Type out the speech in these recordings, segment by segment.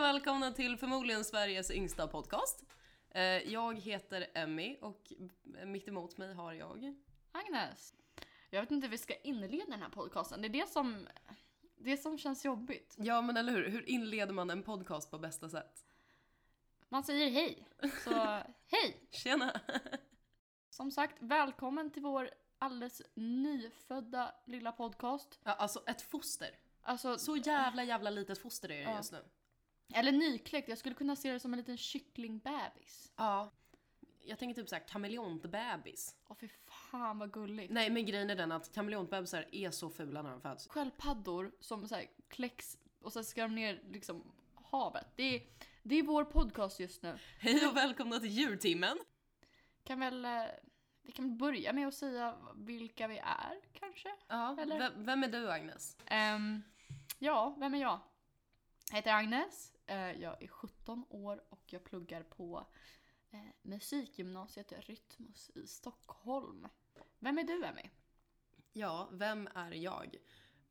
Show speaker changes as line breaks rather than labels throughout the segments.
välkomna till förmodligen Sveriges yngsta podcast. Eh, Jag heter Emmy och mitt emot mig har jag...
Agnes. Jag vet inte hur vi ska inleda den här podcasten. Det är det som, det som känns jobbigt.
Ja men eller hur, hur inleder man en podcast på bästa sätt?
Man säger hej. Så hej!
Tjena!
Som sagt, välkommen till vår alldeles nyfödda lilla podcast.
Ja, alltså ett foster.
Alltså,
Så jävla jävla litet foster är det
Ja.
just nu.
eller nykläckt. Jag skulle kunna se det som en liten kycklingbebis.
Ja. Jag tänker typ såhär kameleontbebis.
Åh fy fan vad gulligt.
Nej men grejen är den att kameleontbebisar är så fula när de föds.
Sköldpaddor som så här kläcks och sen ska de ner liksom havet. Det är, det är vår podcast just nu.
Hej och välkomna till djurtimmen!
Kan väl, eh, vi kan väl börja med att säga vilka vi är kanske?
Ja,
Eller-
vem, vem är du Agnes?
Ehm, ja, vem är jag? Jag heter Agnes, eh, jag är 17 år och jag pluggar på eh, musikgymnasiet Rytmus i Stockholm. Vem är du Emmy?
Ja, vem är jag?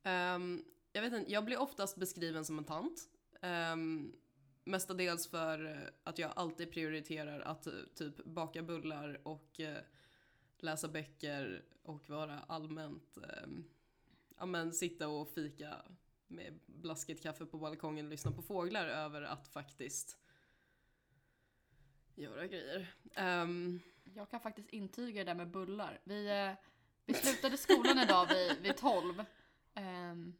Ehm, jag vet inte, jag blir oftast beskriven som en tant. Um, mestadels för eh, att jag alltid prioriterar att eh, typ baka bullar och eh, läsa böcker och vara allmänt, ehm, ja men sitta och fika med blaskigt kaffe på balkongen och lyssna på fåglar över att faktiskt göra grejer. Ehm,
Jag kan faktiskt intyga det där med bullar. Vi, eh, vi slutade skolan idag vid, vid 12. Ehm,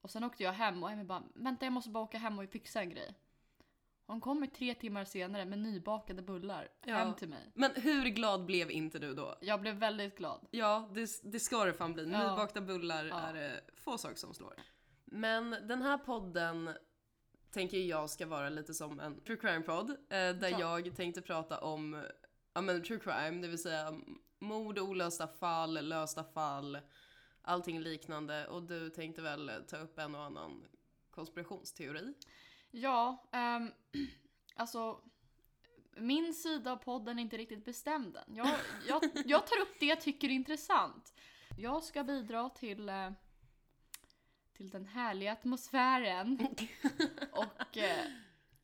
och sen åkte jag hem och Emmy bara “vänta jag måste bara åka hem och fixa en grej”. Hon kommer tre timmar senare med nybakade bullar
Ja.
hem till mig.
men hur glad blev inte du då?
Jag blev väldigt glad.
Ja, det, det ska det fan bli.
Ja.
Nybakta bullar
Ja.
är det få saker som slår. Men den här podden tänker jag ska vara lite som en true crime-podd. Eh, där
Ja.
jag tänkte prata om ja, men true crime, det vill säga mord, olösta fall, lösta fall, allting liknande. Och du tänkte väl ta upp en och annan konspirationsteori?
Ja, ehm, alltså min sida av podden är inte riktigt bestämd än. Jag, jag, jag tar upp det jag tycker är intressant. Jag ska bidra till, eh, till den härliga atmosfären och eh,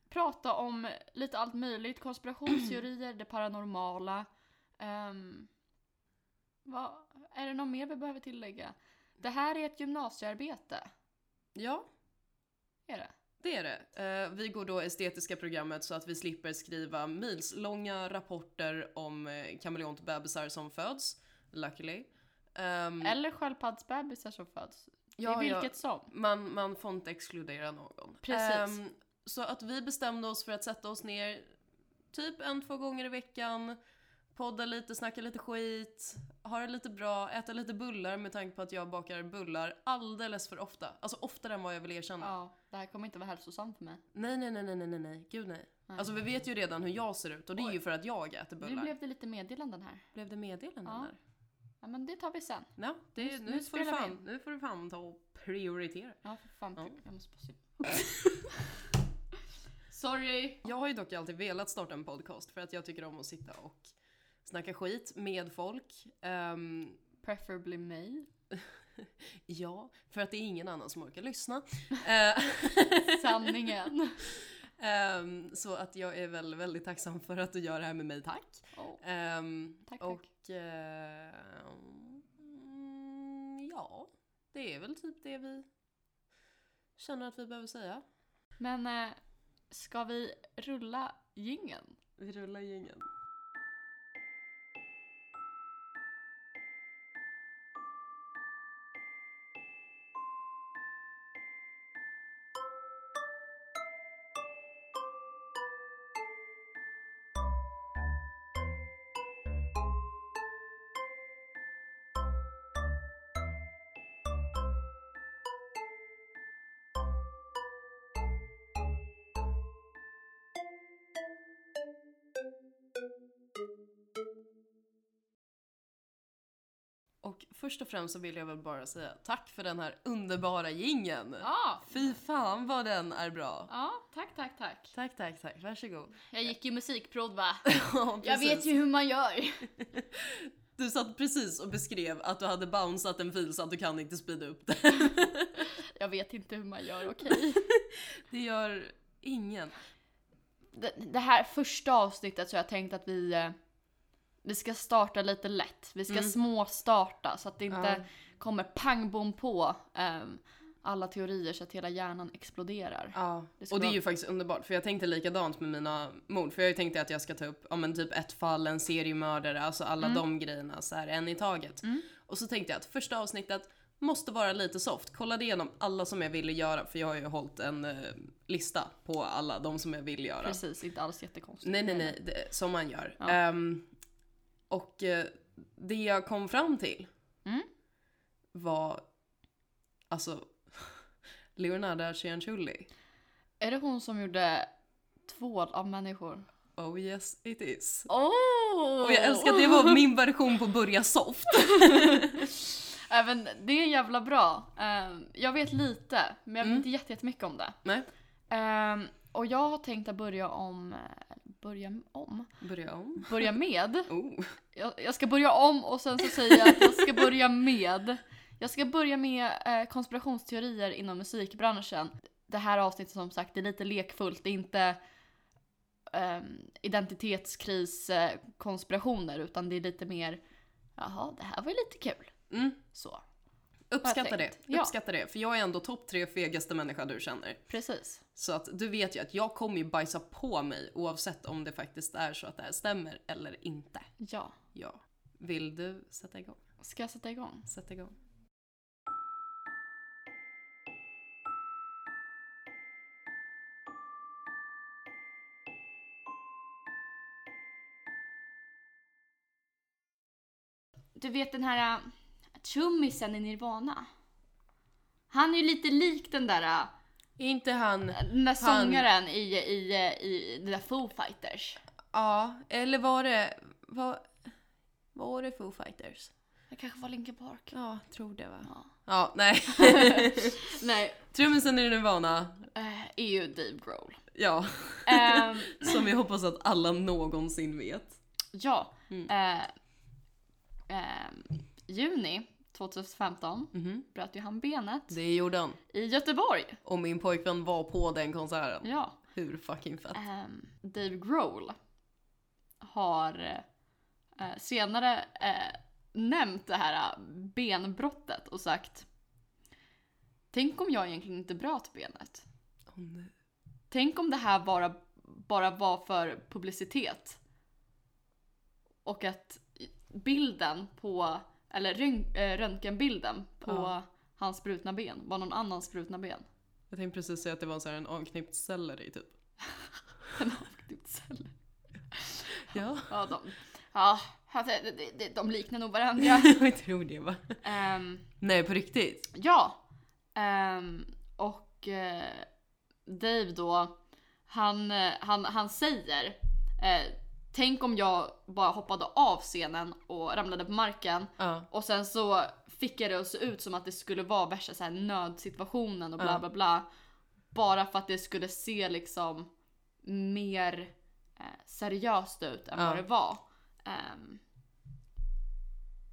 prata om lite allt möjligt. Konspirationsteorier, det paranormala. ehm, vad, är det något mer vi behöver tillägga? Det här är ett gymnasiearbete,
Ja,
är det?
Det är det. Eh, vi går då estetiska programmet så att vi slipper skriva milslånga rapporter om eh, kameleontbebisar som föds, luckily. Ehm,
Eller sköldpaddsbebisar som föds.
ja,
I
ja,
vilket som.
man, man får inte exkludera någon.
Precis.
Ehm, så att vi bestämde oss för att sätta oss ner typ en, två gånger i veckan, podda lite, snacka lite skit, ha det lite bra, äta lite bullar med tanke på att jag bakar bullar alldeles för ofta. Alltså oftare än vad jag vill erkänna.
Ja, det här kommer inte vara hälsosamt för mig.
Nej, nej, nej, nej, nej, nej, nej, gud nej.
Nej.
Alltså vi vet ju redan hur jag ser ut och det är ju för att jag äter
Nu
bullar.
blev det lite meddelanden här.
Blev det meddelanden
Ja.
där?
Ja, men det tar vi sen.
Ja, det, nu,
Nu- nu
får du
spelar vi
fan, nu får du fan ta och prioritera.
Ja, för fan.
Ja.
Jag måste bara se. Sorry!
Jag har ju dock alltid velat starta en podcast för att jag tycker om att sitta och snacka skit med folk. Ehm,
Preferably mig.
ja, för att det är ingen annan som orkar lyssna. Eh,
Sanningen.
ehm, så att jag är väl väldigt tacksam för att du gör det här med mig, tack.
Oh,
Ehm,
tack,
och
tack.
ehm, mm, ja, det är väl typ det vi känner att vi behöver säga.
Men eh, ska vi rulla gingen?
Vi rullar gängen. Och först och främst så vill jag väl bara säga tack för den här underbara gingen.
Ja!
Fy fan vad den är bra.
Ja, tack, tack, tack.
Tack, tack, tack. Varsågod.
Jag gick ju musikprod va?
Ja,
Jag vet
precis.
ju hur man gör.
Du satt precis och beskrev att du hade bouncat en fil så att du kan inte speeda upp det.
Jag vet inte hur man gör, okej.
Det gör Ingen.
det, det här första avsnittet så har jag tänkt att vi, eh, vi ska starta lite lätt. Vi ska
Mm.
småstarta så att det inte
Ja.
kommer pang bom på ehm, alla teorier så att hela hjärnan exploderar.
Ja,
Det ska
och det är
vara-
ju faktiskt underbart för jag tänkte likadant med mina mord. För jag har ju tänkt att jag ska ta upp, ja men typ ett fall, en seriemördare, alltså alla
Mm.
de grejerna så här en i taget. Och så tänkte jag att första avsnittet måste vara lite soft. Kollade igenom alla som jag ville göra för jag har ju hållit en eh, lista på alla de som jag vill göra.
Precis, inte alls jättekonstigt.
Nej, nej, nej, det, som man gör.
Ja.
Ehm, och eh, det jag kom fram till
Mm.
var alltså Leonardo Cianciulli.
Är det hon som gjorde tvål av människor?
Oh yes it is.
Oh!
Och jag älskar att det var min version på börja soft.
Även, det är jävla bra. Ehm, jag vet lite, men jag vet
Mm.
inte jätte- jättemycket om det.
Nej,
Ehm, och jag har tänkt att börja om... eh, Börja om?
börja om.
Börja med
Oh.
jag, jag ska börja om och sen så säger jag att jag ska börja med. Jag ska börja med eh, konspirationsteorier inom musikbranschen. Det här avsnittet som sagt, det är lite lekfullt. Det är inte ehm, identitetskris, eh, konspirationer, utan det är lite mer jaha, det här var ju lite kul.
Mm.
Så,
Uppskatta
Har jag
det.
tänkt. Ja.
Uppskatta det. För jag är ändå topp tre fegaste människa du känner.
precis.
Så att du vet ju att jag kommer ju bajsa på mig oavsett om det faktiskt är så att det här stämmer eller inte.
Ja.
Ja. Vill du sätta igång?
Ska jag sätta igång?
Sätt igång.
Du vet den här äh, trummisen i Nirvana? Han är ju lite lik den där äh,
Inte han.
Den där
Han-
sångaren i, i, i, i den där Foo Fighters.
Ja, eller var det... Var, var det Foo Fighters?
Det kanske var Linkin Park.
Ja, tror det va?
Ja.
Ja, nej.
Nej,
Trummisen i Nirvana.
eh, är ju Dave Grohl.
Ja.
Ehm,
Som jag hoppas att alla någonsin vet.
ja.
Mm.
Eh, ehm, juni 2015
Mhm.
bröt ju han benet
Det gjorde han.
i Göteborg.
Och min pojkvän var på den konserten.
Ja.
Hur fucking fett.
Ehm, Dave Grohl har eh, senare eh, nämnt det här eh, benbrottet och sagt Tänk om jag egentligen inte bröt benet.
Åh, nej.
Tänk om det här bara, bara var för publicitet. Och att bilden på, eller rön- eh, röntgenbilden på
Ja.
hans brutna ben var någon annans brutna ben.
Jag tänkte precis säga att det var så här en avknäppt selleri typ.
En avknäppt cell.
Ja.
Ja, de, ja, alltså, det- det- det- de liknar nog varandra.
jag tror det va.
Ehm,
Nej, på riktigt.
Ja. Ehm, och eh, Dave då, han, eh, han, han säger eh, Tänk om jag bara hoppade av scenen och ramlade på marken
Ja.
och sen så fick jag det att se ut som att det skulle vara värsta så här nödsituationen och bla
Ja.
bla bla. Bara för att det skulle se liksom mer eh, seriöst ut än
Ja.
vad det var. Ehm,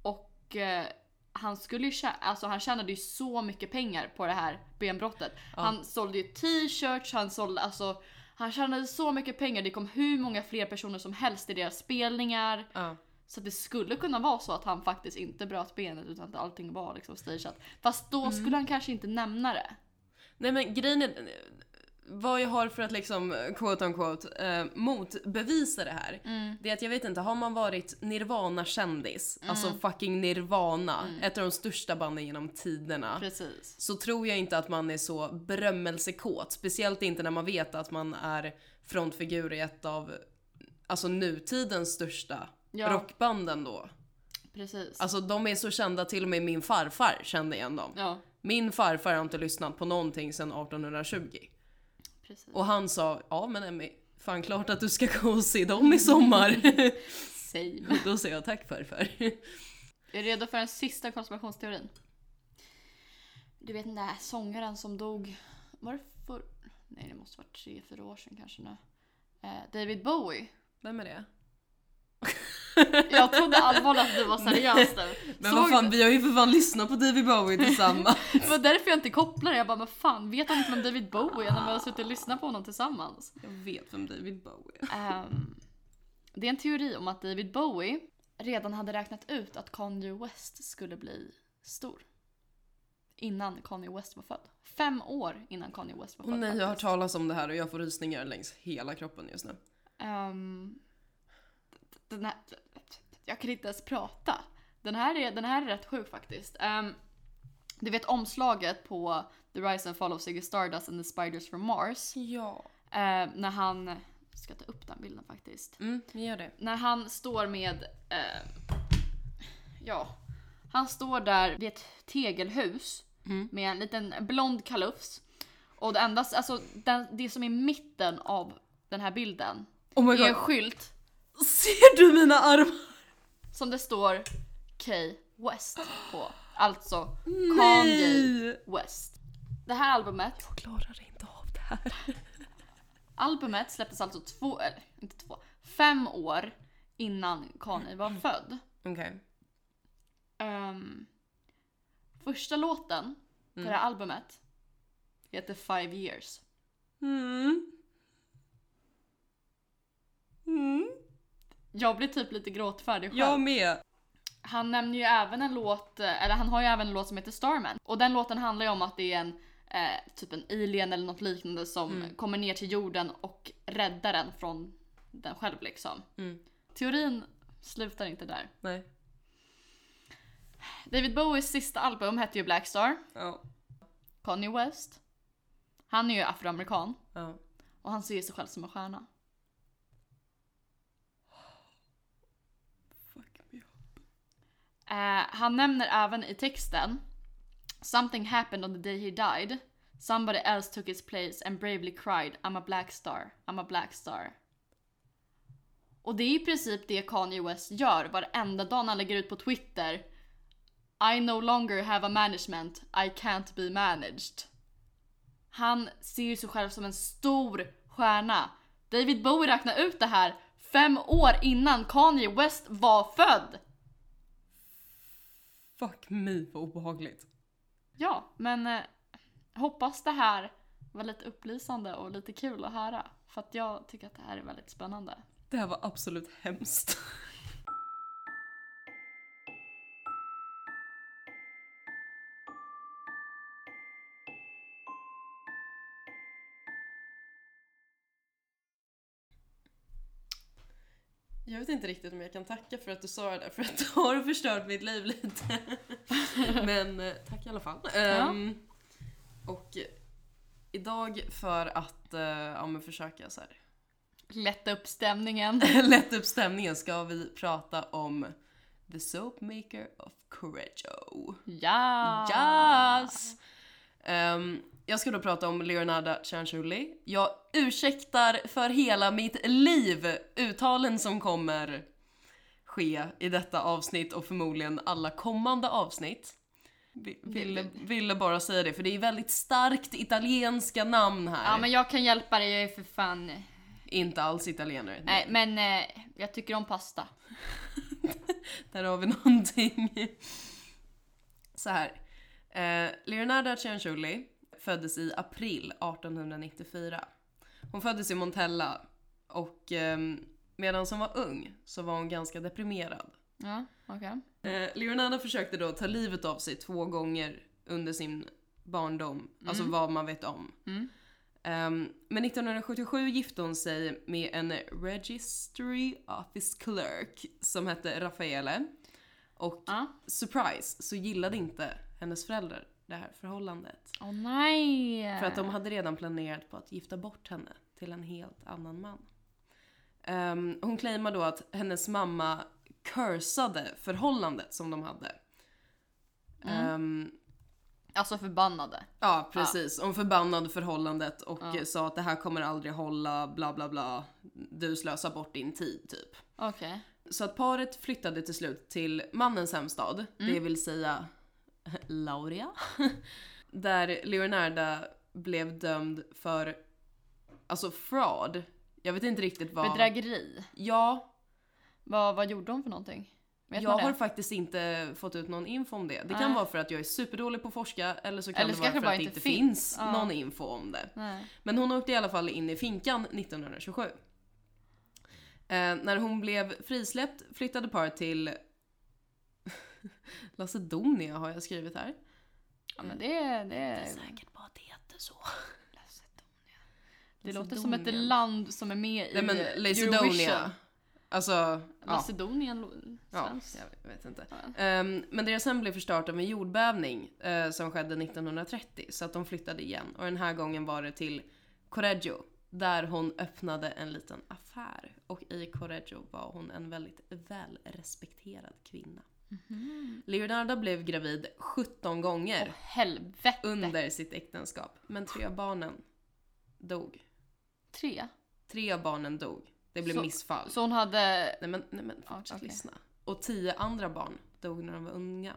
och eh, han skulle ju tjä- alltså han tjänade ju så mycket pengar på det här benbrottet.
Ja.
Han sålde ju t-shirts, han sålde alltså han tjänade så mycket pengar, det kom hur många fler personer som helst i deras spelningar.
ja.
Så att det skulle kunna vara så att han faktiskt inte bröt benet utan att allting var liksom stageat. Fast då skulle han kanske inte nämna det.
Nej men grejen är, vad jag har för att liksom quote on quote eh, motbevisa det här.
Mm.
Det är att jag vet inte, har man varit Nirvana-kändis, alltså fucking Nirvana, ett av de största banden genom tiderna.
Precis.
Så tror jag inte att man är så berömmelsekåt, speciellt inte när man vet att man är frontfigur i ett av alltså nutidens största
Ja.
rockbanden då.
Precis.
Alltså de är så kända, till och med min farfar kände igen dem.
ja,
Min farfar har inte lyssnat på någonting sedan 1820.
precis.
Och han sa, ja men Emmy, fan klart att du ska gå och se dem i sommar.
Same.
Och Då säger jag tack farfar.
Är du redo för den sista konspirationsteorin? Du vet den där sångaren som dog, var det för... Nej det måste varit tre, fyra år sedan kanske nu. Eh, David Bowie.
Vem är det?
Jag trodde allvarligt att du var seriös nu.
Men
Såg
vad fan,
du?
vi har ju för fan lyssnat på David Bowie tillsammans.
Det var därför jag inte kopplade det. Jag bara, men fan, vet han inte vem David Bowie är när vi har suttit och lyssnat på honom tillsammans?
jag vet vem David Bowie är.
Ehm, det är en teori om att David Bowie redan hade räknat ut att Kanye West skulle bli stor. Innan Kanye West var född. Fem år innan Kanye West var
Och
född.
nej, jag har hört
faktiskt.
talas om det här och jag får rysningar längs hela kroppen just nu.
Ehm, den här, jag kan inte ens prata. Den här är, den här är rätt sjuk faktiskt. Ehm, du vet omslaget på The Rise and Fall of Ziggy Stardust and the Spiders from Mars.
Ja.
eh, när han... Jag ska ta upp den bilden faktiskt.
Mm, vi gör det.
När han står med... eh, ja. Han står där vid ett tegelhus
Mm.
med en liten blond kalufs. Och det enda, alltså den, det som är mitten av den här bilden
Oh my
är en
god.
skylt
Ser du mina armar?
som det står K West på. Alltså Kanye
Nej!
West. Det här albumet,
Jag klarar inte av det här.
albumet släpptes alltså två, eller inte två, fem år innan Kanye var född.
Okej.
Ehm, första låten på det här albumet heter Five Years.
Mm. Mm.
Jag blir typ lite gråtfärdig själv.
Jag med.
Han nämner ju även en låt, eh, eller han har ju även en låt som heter Starman. Och den låten handlar ju om att det är en eh, typ en alien eller något liknande som kommer ner till jorden och räddar den från den själv liksom.
Mm.
Teorin slutar inte där.
Nej.
David Bowies sista album hette ju Black Star,
Ja.
Kanye West. Han är ju afroamerikan
ja.
och han ser sig själv som en stjärna.
Fuck me.
Eh, han nämner även i texten “Something happened on the day he died. Somebody else took his place and bravely cried I'm a black star, I'm a black star”. Och det är i princip det Kanye West gör varenda dag när han lägger ut på Twitter. “I no longer have a management, I can't be managed”. Han ser ju sig själv som en stor stjärna. David Bowie räknade ut det här fem år innan Kanye West var född!
Fuck me vad obehagligt.
Ja, men eh, hoppas det här var lite upplysande och lite kul att höra. För att jag tycker att det här är väldigt spännande.
Det här var absolut hemskt. Jag vet inte riktigt om jag kan tacka för att du sa det där, för att du har förstört mitt liv lite. Men eh, tack i alla fall. Ehm, och idag för att eh, ja, men försöka så här,
Lätta upp stämningen.
lätt upp stämningen ska vi prata om The Soap Maker of Correggio.
Ja! Ah.
Yes! Ehm, jag ska då prata om Leonardo Cianciulli. Jag ursäktar för hela mitt liv uttalen som kommer ske i detta avsnitt och förmodligen alla kommande avsnitt. Vi- Ville, ville bara säga det, för det är väldigt starkt italienska namn här.
Ja men jag kan hjälpa dig, jag är för fan...
Inte alls italienare.
Nej men eh, jag tycker om pasta.
Där har vi någonting. Så här. Eh, Leonardo Cianciulli föddes i april 1894. Hon föddes i Montella och ehm, medan hon var ung så var hon ganska deprimerad.
Ja, okej.
Eh, Leonardo försökte då ta livet av sig två gånger under sin barndom, alltså vad man vet om.
Mm.
Ehm, men 1977 gifte hon sig med en registry office clerk som hette Raffaele. Och
Ja.
surprise så gillade inte hennes föräldrar det här förhållandet.
Åh nej!
För att de hade redan planerat på att gifta bort henne till en helt annan man. Ehm, hon claimar då att hennes mamma cursade förhållandet som de hade.
Mm.
Ehm,
Alltså förbannade.
ja, precis. Hon förbannade förhållandet och
Ja.
eh, sa att det här kommer aldrig hålla, bla bla bla. Du slösar bort din tid, typ.
Okej.
Så att paret flyttade till slut till mannens hemstad, det
Mm.
vill säga Lauria. Där Leonarda blev dömd för, alltså fraud. Jag vet inte riktigt vad.
Bedrägeri.
Ja.
Vad, vad gjorde de för någonting? Vet
jag
man det?
har faktiskt inte fått ut någon info om det. Det kan
Nej.
vara för att jag är superdålig på att forska eller så kan
Eller så
det vara
kanske
för
bara
att det
inte
inte finns,
finns. Ja.
någon info om det.
Nej.
Men hon åkte i alla fall in i finkan 1927. Eh, när hon blev frisläppt flyttade paret till Lacedonia har jag skrivit här. Eh,
Ja, men det, det, Mm. det,
bara det heter så.
låter som ett
Lacedonia.
land som är med i
Nej men
Eurovision.
Lacedonia. Alltså, ja.
Macedonien lo-
ja.
svenskt.
Jag vet inte.
Ja.
Ehm, men deras hem blev förstört av en jordbävning eh, som skedde 1930 så att de flyttade igen och den här gången var det till Correggio där hon öppnade en liten affär och i Correggio var hon en väldigt välrespekterad kvinna.
Mhm.
Leonardo blev gravid 17
Åh
gånger
helvete!
under sitt äktenskap men tre av barnen dog.
Tre.
Tre av barnen dog. Det blev
Så-
missfall.
Så hon hade...
Nej men, nej, men
Ja,
fortsätt
okej.
lyssna. Och tio andra barn dog när de var unga.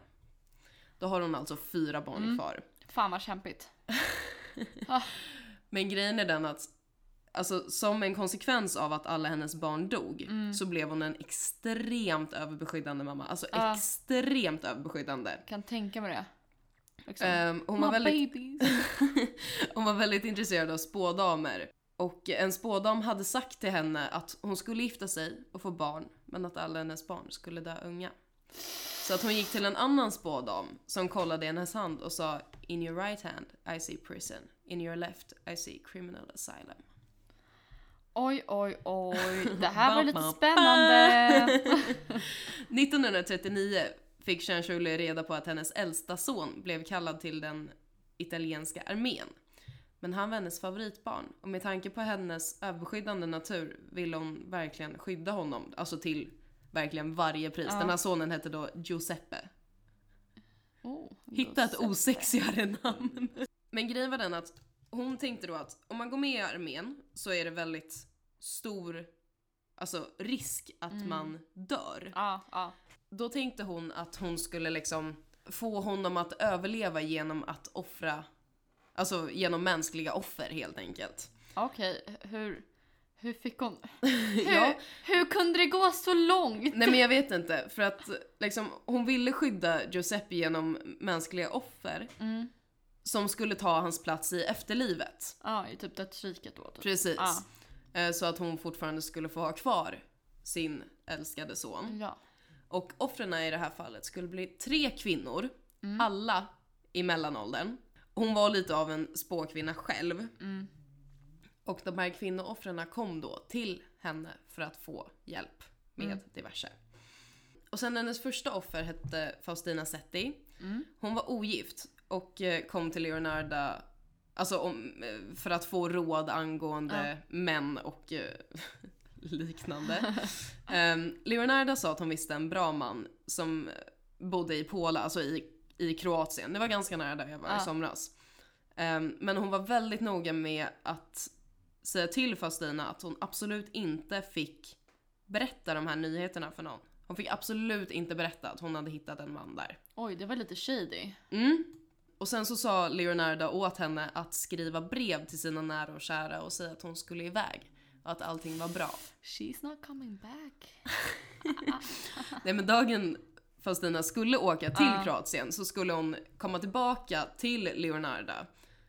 Då har hon alltså fyra barn
Mm.
kvar.
Fan vad kämpigt.
Men grejen är den att Alltså som en konsekvens av att alla hennes barn dog
Mm.
så blev hon en extremt överbeskyddande mamma. Alltså
Ja.
extremt överbeskyddande.
Kan tänka mig det. Liksom.
Ehm, hon, var
My
väldigt,
babies.
hon var väldigt intresserad av spådamer. Och en spådam hade sagt till henne att hon skulle gifta sig och få barn, men att alla hennes barn skulle dö unga. Så att hon gick till en annan spådam som kollade i hennes hand och sa In your right hand I see prison, in your left I see criminal asylum.
Oj, oj, oj. Det här var
Ba,
lite
ba, ba.
spännande.
1939 fick Cianciulli reda på att hennes äldsta son blev kallad till den italienska armén. Men han var hennes favoritbarn och med tanke på hennes överskyddande natur ville hon verkligen skydda honom, alltså till verkligen varje pris.
Ja.
Den här sonen hette då Giuseppe.
Oh,
Hitta ett
Giuseppe.
osexigare namn. Men grejen var den att hon tänkte då att om man går med i armén så är det väldigt stor alltså, risk att
Mm.
man dör.
Ja, ja.
Då tänkte hon att hon skulle liksom få honom att överleva genom att offra, alltså genom mänskliga offer helt enkelt.
Okej, hur, hur fick hon... Hur,
ja,
hur kunde det gå så långt?
nej men jag vet inte för att liksom, hon ville skydda Giuseppe genom mänskliga offer
Mm.
som skulle ta hans plats i efterlivet.
Ja, i typ dödsriket då. Typ.
Precis.
Ja.
Eh, Så att hon fortfarande skulle få ha kvar sin älskade son.
Ja.
Och offren i det här fallet skulle bli tre kvinnor,
Mm.
alla i mellanåldern. Hon var lite av en spåkvinna själv.
Mm.
Och de här kvinnooffren kom då till henne för att få hjälp med
Mm.
diverse. Och sen hennes första offer hette Faustina Setti.
Mm.
Hon var ogift och eh, kom till Leonardo alltså om, eh, för att få råd angående män och eh, liknande. um, Leonardo sa att hon visste en bra man som bodde i Pola, alltså i, i Kroatien. Det var ganska nära där jag var
Ja.
i somras. Ehm, men hon var väldigt noga med att säga till Faustina att hon absolut inte fick berätta de här nyheterna för någon. Hon fick absolut inte berätta att hon hade hittat en man där.
Oj, det var lite shady.
Mm. Och sen så sa Leonardo åt henne att skriva brev till sina nära och kära och säga att hon skulle iväg. Och att allting var bra.
She's not coming back.
Nej men dagen Faustina skulle åka till
Ja.
Kroatien så skulle hon komma tillbaka till Leonardo.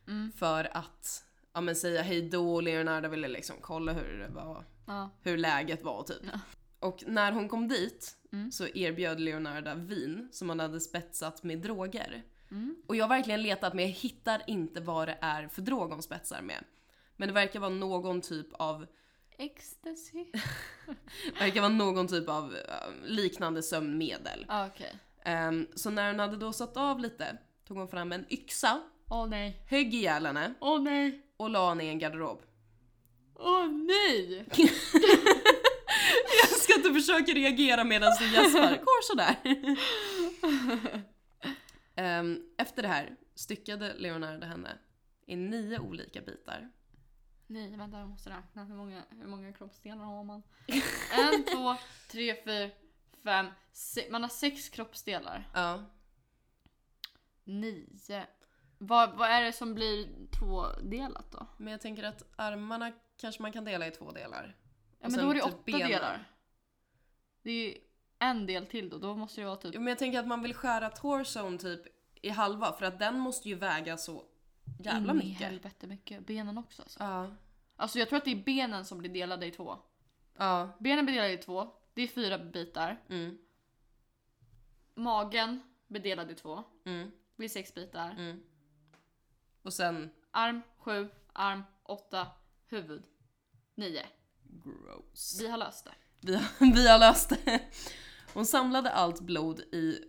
Mm.
För att ja, men säga hej då och Leonardo ville liksom kolla hur det var
Ja.
hur läget var typ.
Ja.
Och när hon kom dit
Mm.
så erbjöd Leonardo vin som han hade spetsat med droger.
Mm.
Och jag har verkligen letat men jag hittar inte vad det är för drog hon spetsar med. Men det verkar vara någon typ av,
Ecstasy.
verkar vara någon typ av eh, liknande sömnmedel.
Ah, Okej.
Ehm, så när hon hade då satt av lite tog hon fram en yxa,
Åh nej.
högg ihjäl henne
Åh nej.
och la henne i en garderob.
Åh nej!
Jag ska inte försöka reagera medan du gäspar. Går sådär. Ehm, efter det här styckade Leonardo henne i nio olika bitar.
Nej, vänta jag måste räkna. Hur många, hur många kroppsdelar har man? en, två, tre, fyra, fem, sex. Man har sex kroppsdelar.
Ja.
Nio. Vad, vad är det som blir tvådelat då?
Men jag tänker att armarna kanske man kan dela i två delar.
Ja men då är det
sen typ
åtta
benen.
delar. Det är ju en del till då, då måste det vara typ...
Jo, men jag tänker att man vill skära torson typ i halva för att den måste ju väga så jävla
in i
mycket.
helvete mycket. Benen också alltså.
Ja.
Alltså jag tror att det är benen som blir delade i två.
Ja.
Benen blir delade i två, det är fyra bitar.
Mm.
Magen blir delad i två,
Mm.
blir sex bitar.
Mm. Och sen
Arm sju, arm åtta, huvud nio.
gross.
Vi har löst det.
Vi har, vi har löst det. Hon samlade allt blod i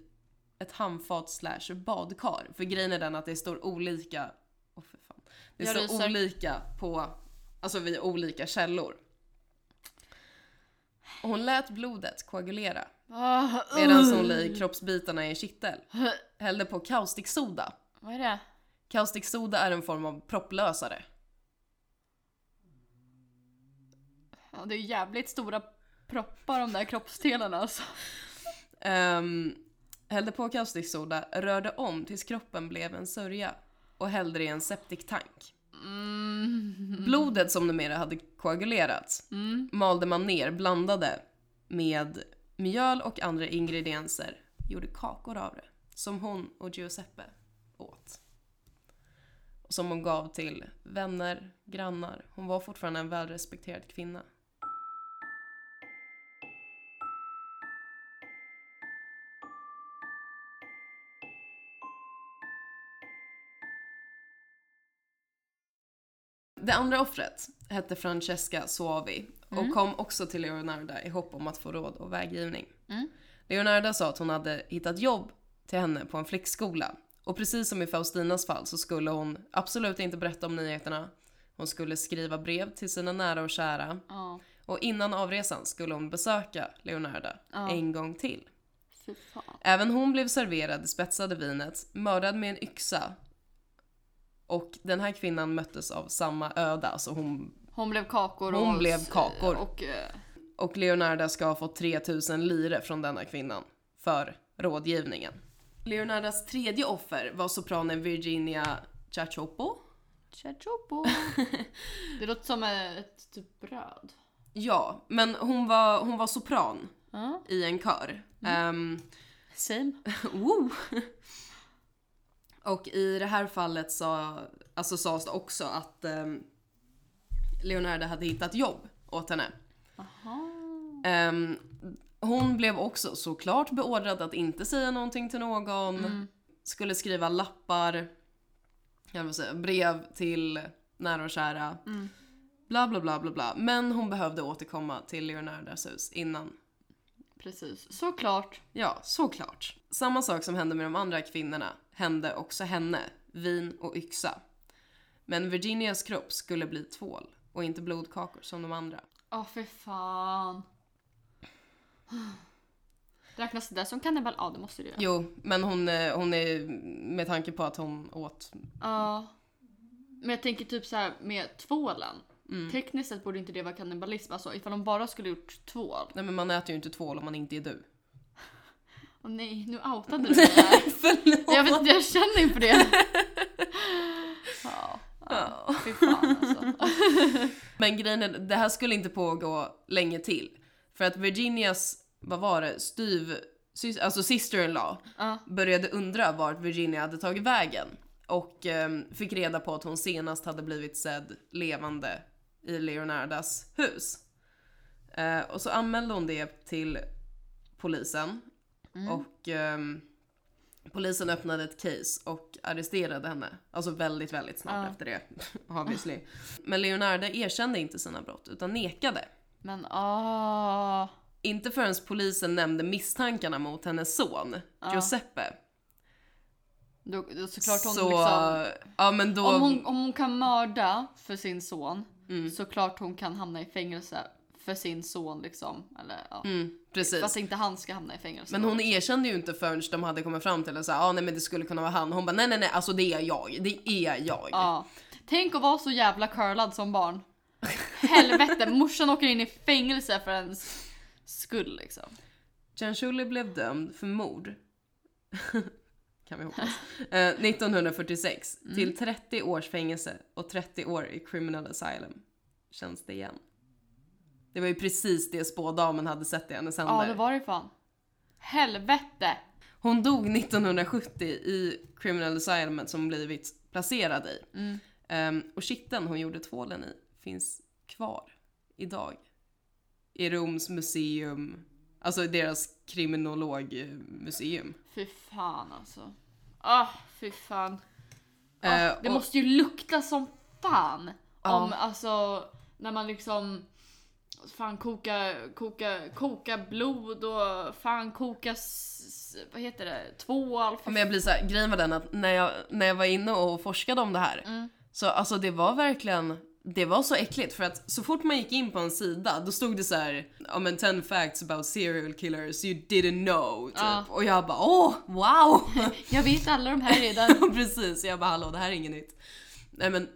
ett handfat slash badkar. För grejen är den att det står olika, åh för fan. Det
Jag
står
ryser.
olika på, alltså vid olika källor. Och hon lät blodet koagulera
Ah,
medan hon la i kroppsbitarna i en kittel. Hällde på kaustiksoda.
uh. Vad är det?
Kaustiksoda är en form av propplösare.
Ja, det är jävligt stora proppar de där kroppsdelarna alltså.
Ehm, hällde på kaustiksoda, rörde om tills kroppen blev en sörja och hällde det i en septiktank.
Mm.
Blodet som numera hade koagulerats
Mm.
malde man ner, blandade med mjöl och andra ingredienser, gjorde kakor av det. Som hon och Giuseppe åt. Och som hon gav till vänner, grannar. Hon var fortfarande en välrespekterad kvinna. Det andra offret hette Francesca Suavi och kom också till Leonarda i hopp om att få råd och vägivning.
Mm.
Leonarda sa att hon hade hittat jobb till henne på en flickskola och precis som i Faustinas fall så skulle hon absolut inte berätta om nyheterna. Hon skulle skriva brev till sina nära och kära
Ja,
och innan avresan skulle hon besöka Leonarda
Ja.
en gång till.
fy fan.
Även hon blev serverad det spetsade vinet, mördad med en yxa. Och den här kvinnan möttes av samma öde, alltså hon...
Hon blev kakor
Hon
och...
blev kakor.
Och, eh,
Och Leonarda ska ha fått 3000 lire från denna kvinnan för rådgivningen. Leonardas tredje offer var sopranen Virginia Chachopo.
Chachopo. det låter som ett typ bröd.
Ja, men hon var, hon var sopran
Ja.
i en kör. Ehm,
Same.
Woo! Och i det här fallet så, alltså sades det också att ehm, Leonardo hade hittat jobb åt henne.
Aha.
Ehm, hon blev också såklart beordrad att inte säga någonting till någon. Skulle skriva lappar, jag vill säga, brev till nära och kära.
Mm.
Bla bla bla bla bla. Men hon behövde återkomma till Leonardas hus innan
Precis, såklart.
Ja, såklart. Samma sak som hände med de andra kvinnorna hände också henne, vin och yxa. Men Virginias kropp skulle bli tvål och inte blodkakor som de andra.
Åh för fan. Räknas det där som kannibal? Ja det måste det göra.
Jo, men hon, eh, hon är, med tanke på att hon åt...
Ja. Men jag tänker typ så här med tvålen.
Mm.
Tekniskt sett borde inte det vara kannibalism, alltså ifall de bara skulle gjort tvål.
Nej men man äter ju inte tvål om man inte är du.
Åh nej, nu outade du mig här.
Förlåt!
Jag vet inte, jag känner inför det. Ja,
Ja.
fy fan alltså.
Men grejen är, det här skulle inte pågå länge till. För att Virginias, vad var det, styv... sys- Alltså sister-in-law.
Ja.
började undra vart Virginia hade tagit vägen och ehm, fick reda på att hon senast hade blivit sedd levande i Leonardas hus. Eh, och så anmälde hon det till polisen och ehm, polisen öppnade ett case och arresterade henne. Alltså väldigt, väldigt snart
Ja.
efter det, obviously. Men Leonarda erkände inte sina brott utan nekade.
Men åh.
Inte förrän polisen nämnde misstankarna mot hennes son, Giuseppe,
Då, då såklart hon
så,
liksom...
ja men då,
Om hon, om hon kan mörda för sin son,
Mm.
såklart hon kan hamna i fängelse för sin son liksom. Eller, ja.
mm, precis.
Fast inte han ska hamna i fängelse.
men
då.
hon erkände ju inte förrän de hade kommit fram till det så här, ah, nej men det skulle kunna vara han. Hon bara nej nej nej alltså det är jag, det är jag.
Ja. Tänk att vara så jävla curlad som barn. Helvete, morsan åker in i fängelse för ens skull liksom.
Cianciulli blev dömd för mord, kan vi hoppas, eh, 1946
Mm.
till 30 års fängelse och 30 år i criminal asylum. Känns det igen? Det var ju precis det spådamen hade sett i hennes händer.
Ja, det var det fan. Helvete!
Hon dog 1970 i Criminal Assignment som hon blivit placerad i.
Mm.
Ehm, och kitteln hon gjorde tvålen i finns kvar idag. I Roms museum, alltså i deras kriminologmuseum.
Fy fan alltså. Ah, fy fan. Ah,
Eh,
det
och-
måste ju lukta som fan.
Ja.
Om alltså, när man liksom fan koka, koka, koka blod och fan koka, s- s- vad heter det, tvål. För...
Men jag blir så här, grejen var den att när jag, när jag var inne och forskade om det här,
Mm.
så alltså det var verkligen, det var så äckligt för att så fort man gick in på en sida då stod det så här, ja men 10 facts about serial killers you didn't know typ.
Ja.
Och jag bara åh, wow!
Jag vet alla de här redan.
Och Precis, jag bara hallå det här är inget nytt. Nej men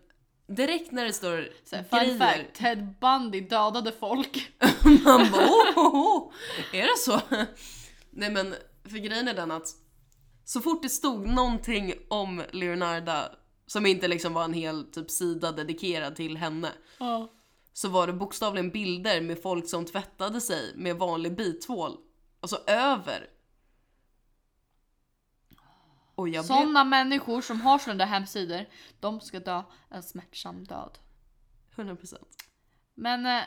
direkt när det står
Så här,
grejer,
fun fact, Ted Bundy dödade folk.
man bara åh, åh, åh, är det så? Nej men för grejen är den att så fort det stod någonting om Leonarda som inte liksom var en hel typ sida dedikerad till henne
Ja.
så var det bokstavligen bilder med folk som tvättade sig med vanlig bitvål. Alltså över. Och jag blev...
Sådana människor som har sådana där hemsidor, de ska dö en smärtsam död.
100%.
Men eh,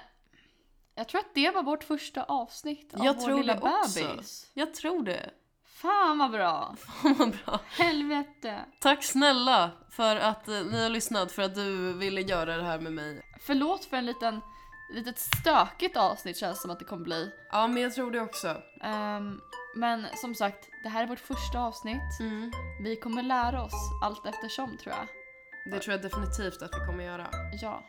jag tror att det var vårt första avsnitt av
Jag
vår
tror
lilla
det också.
bebis.
Jag tror det.
Fan vad bra!
Fan vad bra.
Helvete!
Tack snälla för att eh, ni har lyssnat, för att du ville göra det här med mig.
Förlåt för en liten, litet stökigt avsnitt känns som att det kommer bli.
Ja, men jag tror det också.
Ehm, men som sagt, det här är vårt första avsnitt. Vi kommer lära oss allt eftersom tror jag.
Det tror jag definitivt att vi kommer göra.
Ja.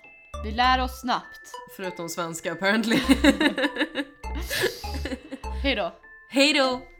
Vi lär oss snabbt.
Förutom svenska apparently.
Hej då!
Hej då!